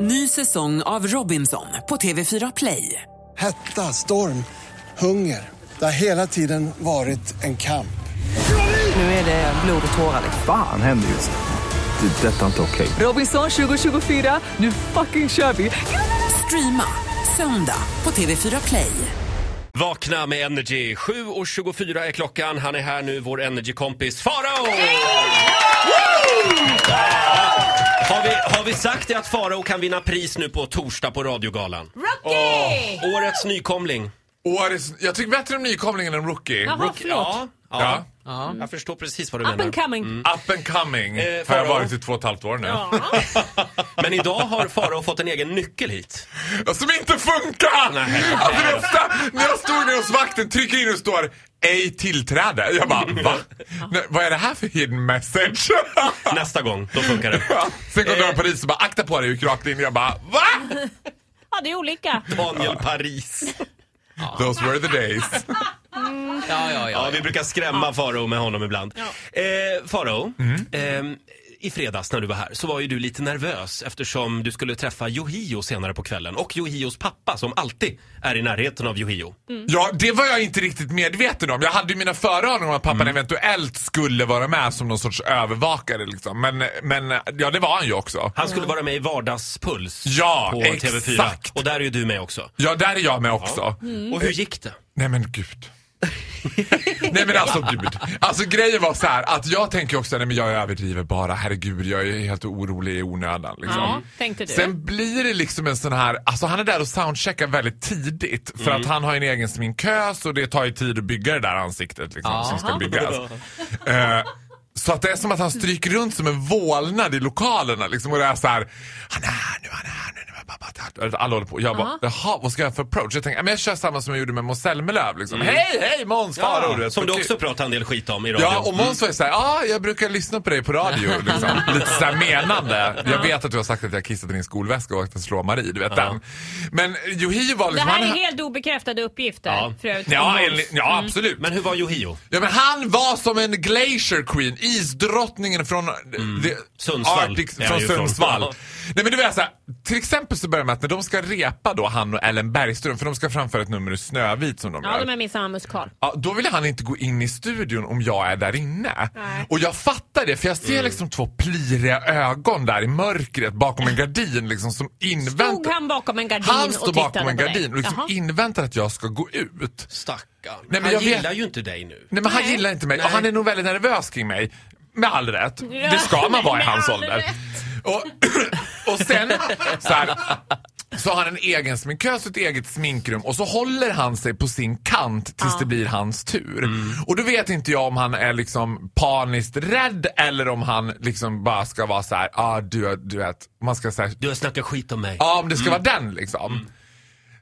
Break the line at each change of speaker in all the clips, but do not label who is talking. Ny säsong av Robinson på TV4 Play.
Hetta, storm, hunger. Det har hela tiden varit en kamp.
Nu är det blod och tårar.
Fan händer just nu. Det. är Detta är inte okej.
Robinson 2024, nu fucking kör vi! Streama söndag på TV4 Play.
Vakna med Energy. 7.24 är klockan. Han är här nu, vår Energy-kompis Farao! Har vi, har vi sagt det att Farao kan vinna pris nu på torsdag på radiogalan?
Rocky!
Årets nykomling.
Årets, jag tycker bättre om nykomlingen än rookie.
Jaha,
rookie
förlåt.
Ja, ja,
Ja.
jag förstår precis vad du
Up and
menar.
coming.
Up and coming
Eh,
har
Farao?
jag varit i två och ett halvt år nu.
Ja.
Men idag har Farao fått en egen nyckel hit.
Som inte funkar!
Nej.
Alltså, nästa, när jag stod nere hos vakten, trycker in och står ej tillträde. Jag bara, va? Nej, vad är det här för hidden message?
Nästa gång, då funkar det.
Ja. Sen kom
Eh.
dörren på polis och bara, akta på dig, gick rakt in. Jag bara, va?
ja, det är olika.
Daniel Paris.
Those were the days.
Ja, ja,
Ja,
ja.
vi brukar skrämma Farao med honom ibland. Eh, Farao,
Mm.
ehm, i fredags när du var här så var ju du lite nervös eftersom du skulle träffa Yohio senare på kvällen och Yohios pappa som alltid är i närheten av Yohio.
Ja, det var jag inte riktigt medveten om. Jag hade ju mina föraningar om att pappan eventuellt skulle vara med som någon sorts övervakare liksom. Men, men ja, det var han ju också.
Han skulle vara med i Vardagspuls
Ja,
på TV4
exakt.
och där är ju du med också.
Ja, där är jag med också.
Och hur gick det?
Nej men gud. nej men alltså gud. Alltså grejen var så här att jag tänker också, nej men jag överdriver bara, herregud jag är helt orolig i onödan liksom.
Ja, tänkte du.
Sen blir det liksom en sån här, alltså han är där och soundcheckar väldigt tidigt för
Mm.
att han har en egen sminkös och det tar ju tid att bygga det där ansiktet liksom, som ska byggas. Eh, så att det är som att han stryker runt som en vålnad i lokalerna liksom, och det är så här, han är här nu, han är här nu. nu, pappa, pappa, pappa." Alla håller på. Jag bara, jaha, vad ska jag för approach? Jag tänker, "Ja, men jag kör samma som jag gjorde med Måns Zelmerlöw. Liksom. Hej, hej Måns! Farao, vet, typ."
som
så
du
kul."
också pratade en del skit om i radio.
Ja, och Måns var ju såhär, ja, jag brukar lyssna på dig på radio. Liksom. Lite såhär menande. Jag vet att du har sagt att jag kissat i din skolväska och att jag slår Marie, du vet den. Men Yohio var
Det
liksom...
här är
han-
helt Mm. obekräftade uppgifter.
Ja.
För övrigt.
Ja, enligt- ja absolut.
Men hur var Yohio?
Ja, men han var som en glacier queen, isdrottningen från the
Mm. Sundsvall
Arctic,
är
från
han ju från.
Sundsvall.
Ja.
Nej men det var så här, till exempel så börjar man med att när de ska repa då, han och Ellen Bergström, för de ska framföra ett nummer ur Snövit som de
Ja,
gör.
de är min samma musikal.
Ja, då vill han inte gå in i studion om jag är där inne. Och jag fattar det för jag ser liksom två pliriga ögon där i mörkret bakom en gardin liksom som
Stod
inväntar.
han bakom en gardin
Han
och
står
tittade
bakom en
på dig?
gardin och liksom
Jaha.
inväntar att jag ska gå ut.
Stackarn.
men
han
jag vet-
gillar ju inte dig nu.
Nej men han
Nej.
gillar inte mig och
Nej.
han är nog väldigt nervös kring mig. Med all rätt.
Ja,
Det ska man vara i
med
hans
all
ålder.
rätt.
Och, och sen så, här, så har han en egen sminkös och ett eget sminkrum och så håller han sig på sin kant tills det blir hans tur. Och då vet inte jag om han är liksom paniskt rädd eller om han liksom bara ska vara så här, ah, du, du vet, man ska säga
Du har snackat skit om mig.
Ja, om det ska vara den liksom.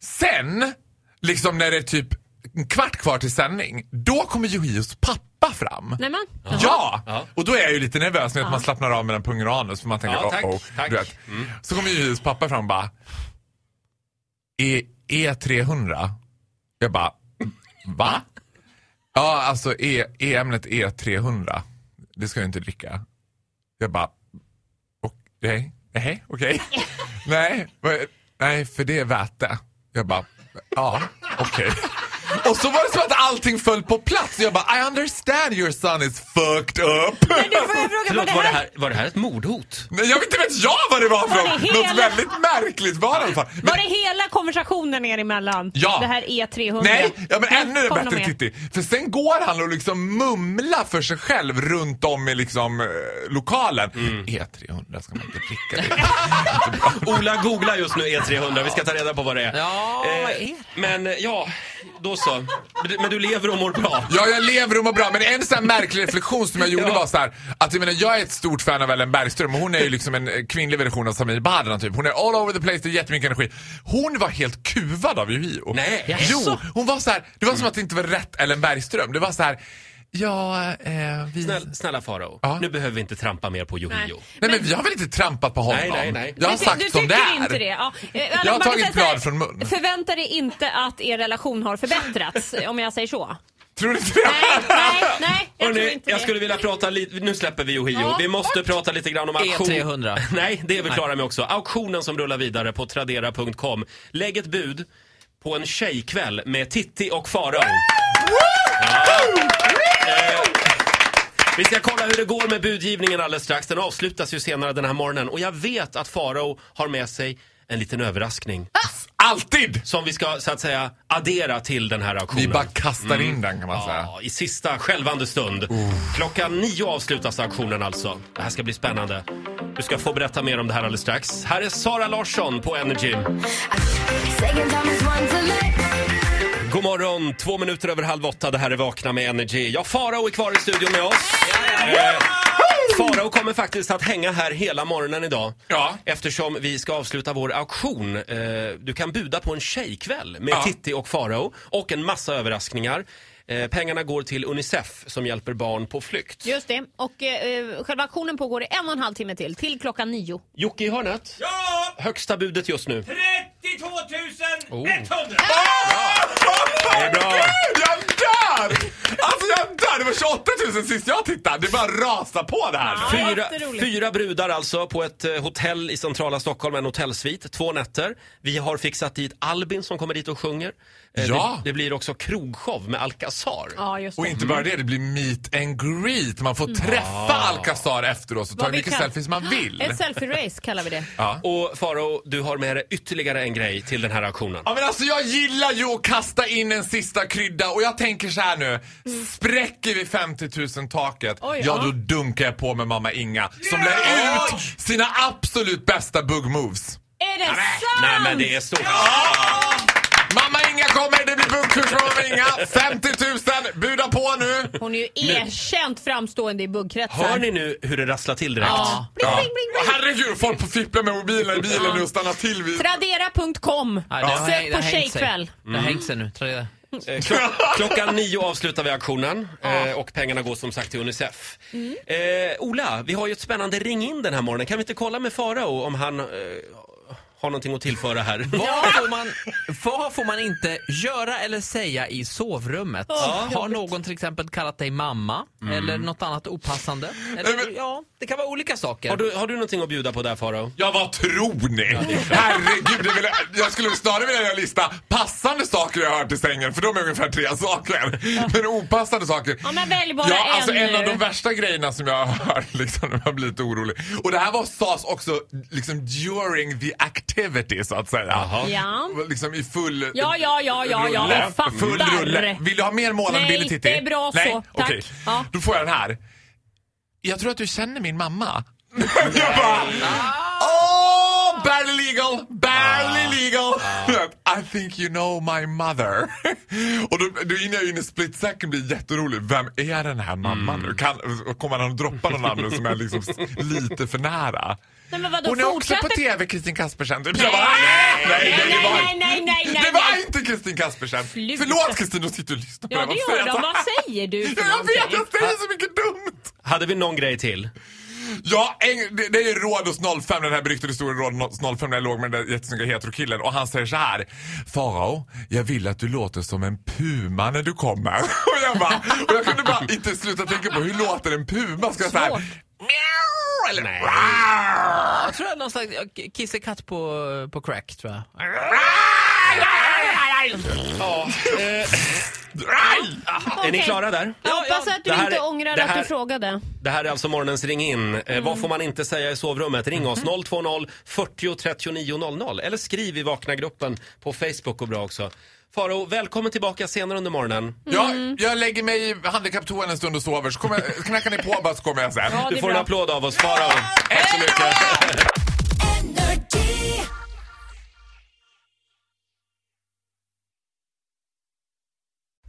Sen, liksom när det är typ en kvart kvar till sändning, då kommer Yohios pappa fram.
Nej, men.
Ja!
Ja.
Och då är jag ju lite nervös, ni vet man slappnar av mellan pungen och anus för man tänker
Ja, tack,
oh, oh,
tack. Mm.
Du vet. Så kommer Yohios pappa fram och bara e E300? Jag bara, va? Ja, alltså e E-ämnet E300, det ska jag inte dricka. Jag bara, Okej, nej, okej. nej, vad- nej, för det är väte. Jag bara, ja, okej. Och så var det som att allting föll på plats. Jag bara, I understand your son is fucked up.
Men du, får jag fråga
Förlåt,
vad
var
det
det
här...
här, var det här ett mordhot?
Nej, jag vet inte vet jag vad det var för
Var det
något.
hela-
Något väldigt märkligt var det i alla fall. Men-
Var det hela konversationen er emellan?
Ja.
Det här E E300?
Nej, ja, men
Mm,
ännu
kom
bättre
de med.
Titti. För sen går han och liksom mumlar för sig själv runt om i liksom, eh, lokalen. E300 ska man inte dricka det.
Ola googlar just nu E300, vi ska ta reda på vad det är.
Ja, vad är
Eh,
det?
Men eh, ja, då så. Men du- Men du lever och mår bra.
Ja, jag lever och mår bra. Men en sån här märklig reflektion som jag gjorde
Ja.
var så här, att jag menar, jag är ett stort fan av Ellen Bergström och hon är ju liksom en eh, kvinnlig version av Samir Badran typ. Hon är all over the place, det är jättemycket energi. Hon var helt kuvad av Yohio.
Nej.
Jo, hon var så här, det var som att det inte var rätt Ellen Bergström. Det var så här, ja, eh, vi...
Snäll, snälla Farao,
Ja.
nu behöver vi inte trampa mer på
Nej.
Yohio.
Nej men vi har väl inte trampat på honom?
Nej, nej, nej.
Jag har
Du ty-
sagt
du
som det
tycker
är.
Inte det. Ja. Eh,
Jag har
man kan
tagit
säga så här,
blad från mun.
Förvänta dig inte att er relation har förbättrats, om jag säger så.
Tror du inte det?
Nej, nej, nej. Jag tror
Hörrni,
inte
jag
det.
skulle vilja prata lite, nu släpper vi Ohio.
Ja,
vi måste prata lite grann om auktion.
E300.
E Nej, det är vi klara med också. Auktionen som rullar vidare på Tradera.com. Lägg ett bud på en tjejkväll med Titti och Farao. Ja. Eh, Vi ska kolla hur det går med budgivningen alldeles strax. Den avslutas ju senare den här morgonen. Och jag vet att Farao har med sig en liten överraskning.
Ah!
Alltid!
Som vi ska så att säga addera till den här auktionen.
Vi bara kastar in den kan man säga.
Ja, i sista skälvande stund. Klockan nio avslutas auktionen alltså. Det här ska bli spännande. Du ska få berätta mer om det här alldeles strax. Här är Sara Larsson på Energy. God morgon, två minuter över halv åtta. Det här är Vakna med Energy. Ja, Farao är kvar i studion med oss. Eh, Farao kommer faktiskt att hänga här hela morgonen idag.
Ja.
Eftersom vi ska avsluta vår auktion. Eh, Du kan buda på en tjejkväll med
Ja.
Titti och Farao och en massa överraskningar. Eh, Pengarna går till Unicef som hjälper barn på flykt.
Just det. Och eh, själva auktionen pågår i en och en halv timme till, till klockan nio.
Jocke i hörnet,
Ja!
högsta budet just nu.
32 100!
Det är bra. Jag dör! Alltså jag dör! Det var 28 000 sist jag tittade. Det bara rasar på det här nu.
Ja,
Fyra,
jätteroligt.
fyra brudar alltså på ett eh, hotell i centrala Stockholm, en hotellsvit, två nätter. Vi har fixat dit Albin som kommer dit och sjunger. Eh,
Ja.
Det, det blir också krogshow med Alcazar.
Ja, just
Och
det.
inte bara det, det blir meet and greet. Man får träffa Alcazar efteråt och ta
Vad
hur
Mm. vi
mycket
kan.
selfies man vill.
Ett selfie-race kallar vi det.
Och Faro, du har med dig ytterligare en grej till den här auktionen.
Ja men alltså jag gillar ju att kasta in en sista krydda och jag tänker så här nu. Spräcker vi 50 000 taket,
Mm. Oj,
ja
ja.
då dunkar jag på med mamma Inga som lär ut sina absolut bästa bug moves.
Är det sant?
Nej men det är stort.
Mamma Inga kommer, det blir buggkurs från mamma Inga. 50 000, buda på nu.
Hon är ju erkänt framstående i buggkretsar.
Hör ni nu hur det rasslar till direkt?
Ja.
Bling, bling, bling,
Åh,
bling.
Herregud, folk på fipplar med mobilen i bilen nu och stannar till vid...
Tradera.com.
Nej, det
Sök
har- det
på
har hängt sig.
tjejkväll.
Det har hängt sig nu. Tradera.
Eh, klock- klockan nio avslutar vi auktionen eh, och pengarna går som sagt till Unicef. Eh, Ola, vi har ju ett spännande ring in den här morgonen. Kan vi inte kolla med Farao om han eh, har någonting att tillföra här?
Vad får, man, vad får man inte göra eller säga i sovrummet? Har någon till exempel kallat dig mamma? Eller något annat opassande?
Nej,
Eller,
men-
ja, det kan vara olika saker.
Har du, har du någonting att bjuda på där Farao?
Ja, vad tror ni? Herregud, det vill, jag skulle snarare vilja göra en lista passande saker jag har hört i sängen, för de är ungefär tre saker. Men opassande saker.
Ja, men välj bara
ja,
en
alltså en
nu.
av de värsta grejerna som jag har hört liksom, när jag har blivit orolig. Och det här var sas också liksom during the activity, så att säga.
Ja.
Liksom i full
Ja, ja, ja, ja, ja,
rulle.
jag fattar.
Full rulle. Vill du ha mer målande
Nej,
bilder Titti?
det är bra
Nej,
så. Tack.
okej.
Ja.
Då får jag den här. Jag tror att du känner min mamma. jag bara...
Ah.
Oh, barely legal, barely legal.
Ah.
I think you know my mother. och då, då hinner jag ju in i split second bli jätterolig. Vem är den här mamman
Mm.
nu? Kan, kommer han att droppa någon namn nu som är liksom s- lite för nära?
Nej, men vadå,
Hon är också på
fortsätter-
TV, Kristin Kaspersen. Typ. Jag bara, nej, nej, nej, det var-
nej, nej, nej, nej,
Det var
nej.
inte Kristin Kaspersen.
Sluta.
Förlåt Kristin, du sitter och lyssnar på
Ja, det
det här.
gör
Vad säger
de. Vad
jag?
säger du för
Jag vet,
någonting?
jag säger så mycket dumt.
Hade vi någon grej till?
Ja, en, det, det är ju råd hos 05, den här beryktade historien råd hos 05 när jag låg med den där jättesnygga heterokillen och han säger så här. Farao, jag vill att du låter som en puma när du kommer. och, jag bara, och jag kunde bara inte sluta tänka på hur låter en puma? Ska jag säga
Svårt.
Mjau! Eller
Nej.
"Rar!"
Jag tror jag någon slags kissekatt på, på crack, tror jag.
Aj!
Är ni
Okej.
klara där?
Jag hoppas att du
Det här
inte
är-
ångrar
det här-
att du frågade.
Det här är alltså morgonens ring in. Eh, Vad får man inte säga i sovrummet? Ring oss 020 40 39 00 eller skriv i Vakna-gruppen på Facebook och bra också. Faro, välkommen tillbaka senare under morgonen.
Ja,
Mm.
jag lägger mig i handikapptoan en stund och sover så kommer jag, knackar ni på bara så kommer jag sen.
Ja, det
Du
är
får en
bra.
applåd av oss, Farao. Tack så mycket.